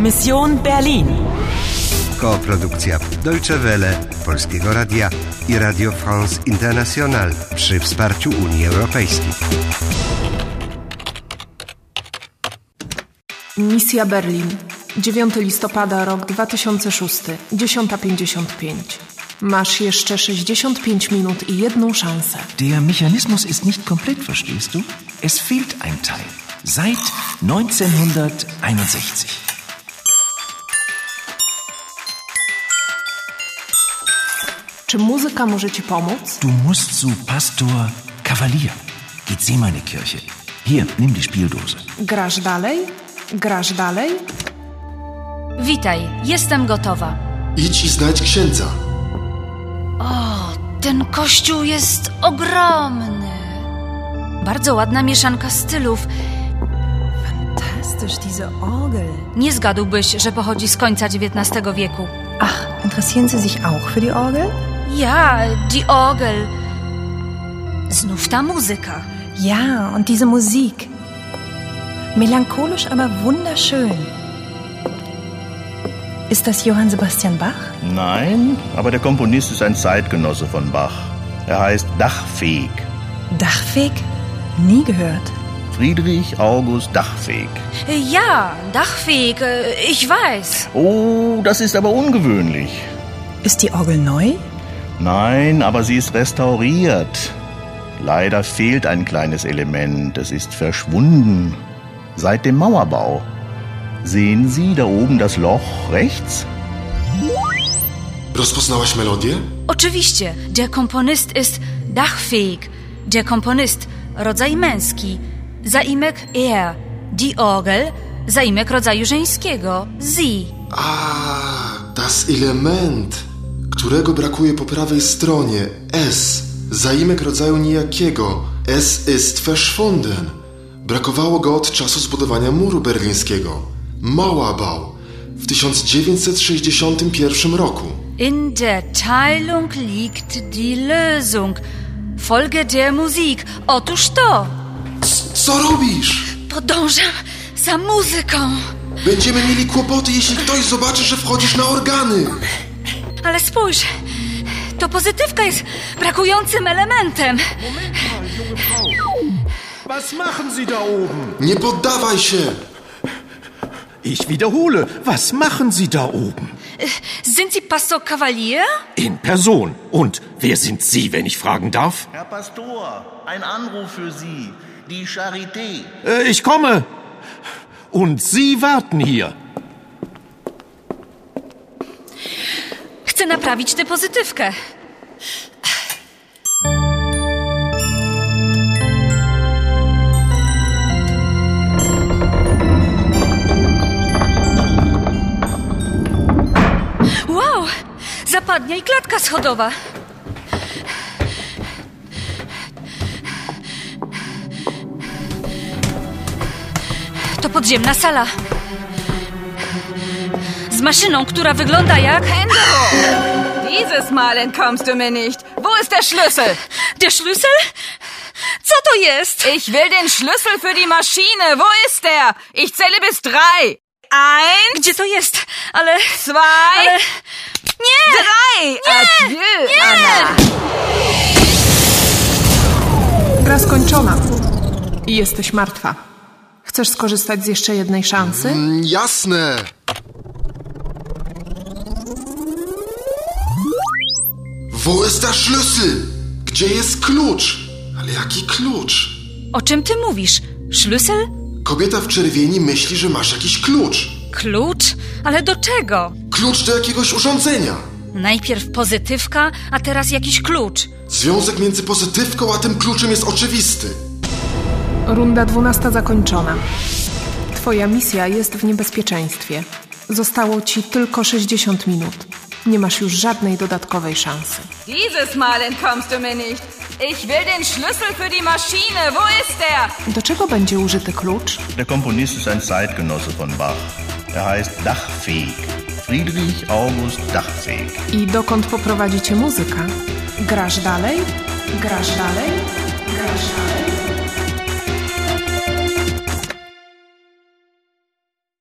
Mission Berlin. Koprodukcja Deutsche Welle, Polskiego Radia i Radio France International przy wsparciu Unii Europejskiej. Misja Berlin. 9 listopada rok 2006, 10.55. Masz jeszcze 65 minut i jedną szansę. Der Mechanismus ist nicht komplett, verstehst du? Es fehlt ein Teil. Seit 1961. Czy muzyka może Ci pomóc? Du musst zu Pastor Kavalier. Geht sie meine Kirche. Hier, nimm die Spieldose. Grasz dalej? Grasz dalej? Witaj, jestem gotowa. Idź i znajdź księdza. Ten kościół jest ogromny. Bardzo ładna mieszanka stylów. Fantastisch, diese Orgel. Nie zgadłbyś, że pochodzi z końca XIX wieku. Ach, interessieren Sie sich auch für die Orgel? Ja, die Orgel. Znów ta muzyka. Ja, und diese Musik. Melancholisch, aber wunderschön. Ist das Johann Sebastian Bach? Nein, aber der Komponist ist ein Zeitgenosse von Bach. Er heißt Dachfeg. Dachfeg? Nie gehört. Friedrich August Dachfeg. Ja, Dachweg, äh, ich weiß. Oh, das ist aber ungewöhnlich. Ist die Orgel neu? Nein, aber sie ist restauriert. Leider fehlt ein kleines Element. Es ist verschwunden. Seit dem Mauerbau. Sehen Sie da oben das Loch rechts? Rozpoznałaś melodię? Oczywiście, der Komponist ist Dachfeg. Der Komponist, rodzaj męski. Zaimek er, die Orgel, zaimek rodzaju żeńskiego, sie. A, das Element, którego brakuje po prawej stronie. S. Zaimek rodzaju nijakiego. S ist verschwunden. Brakowało go od czasu zbudowania muru berlińskiego. Mauerbau w 1961 roku. In der Teilung liegt die Lösung. Folge der Musik. Otóż to. Co robisz? Podążam za muzyką. Będziemy mieli kłopoty, jeśli ktoś zobaczy, że wchodzisz na organy. Ale spójrz, to pozytywka jest brakującym elementem. Was machen Sie da oben? Nie poddawaj się! Ich wiederhole, was machen Sie da oben? Sind Sie Pastor Kavalier? In Person. Und wer sind Sie, wenn ich fragen darf? Herr Pastor, ein Anruf für Sie. Die Charité. Äh, ich komme. Und Sie warten hier. Chcę naprawić tę pozytywkę. Wow! Zapadnia i klatka schodowa. To podziemna sala. Z maszyną, która wygląda jak. Dieses Mal entkommst du mir nicht. Wo ist der Schlüssel? Der Schlüssel? Co to jest? Ich will den Schlüssel für die Maschine. Wo ist der? Ich zähle bis drei. Eins, Gdzie to jest? Ale. zwei, Ale. Nie! drei. Adieu, Anna. Gra skończona. I jesteś martwa. Chcesz skorzystać z jeszcze jednej szansy? Mm, Jasne! Wo ist der Schlüssel? Gdzie jest klucz? Ale jaki klucz? O czym ty mówisz? Szlüssel? Kobieta w czerwieni myśli, że masz jakiś klucz. Klucz? Ale do czego? Klucz do jakiegoś urządzenia. Najpierw pozytywka, a teraz jakiś klucz. Związek między pozytywką a tym kluczem jest oczywisty. Runda 12 zakończona. Twoja misja jest w niebezpieczeństwie. Zostało ci tylko 60 minut. Nie masz już żadnej dodatkowej szansy. Dieses Mal entkommst du mir nicht. Ich will den Schlüssel für die Maschine. Wo ist der? Do czego będzie użyty klucz? Der Komponist ist ein Zeitgenosse von Bach. Er heißt Dachfeg. Friedrich August Dachfeg. I dokąd poprowadzi cię muzyka? Grasz dalej? Grasz dalej? Grasz dalej?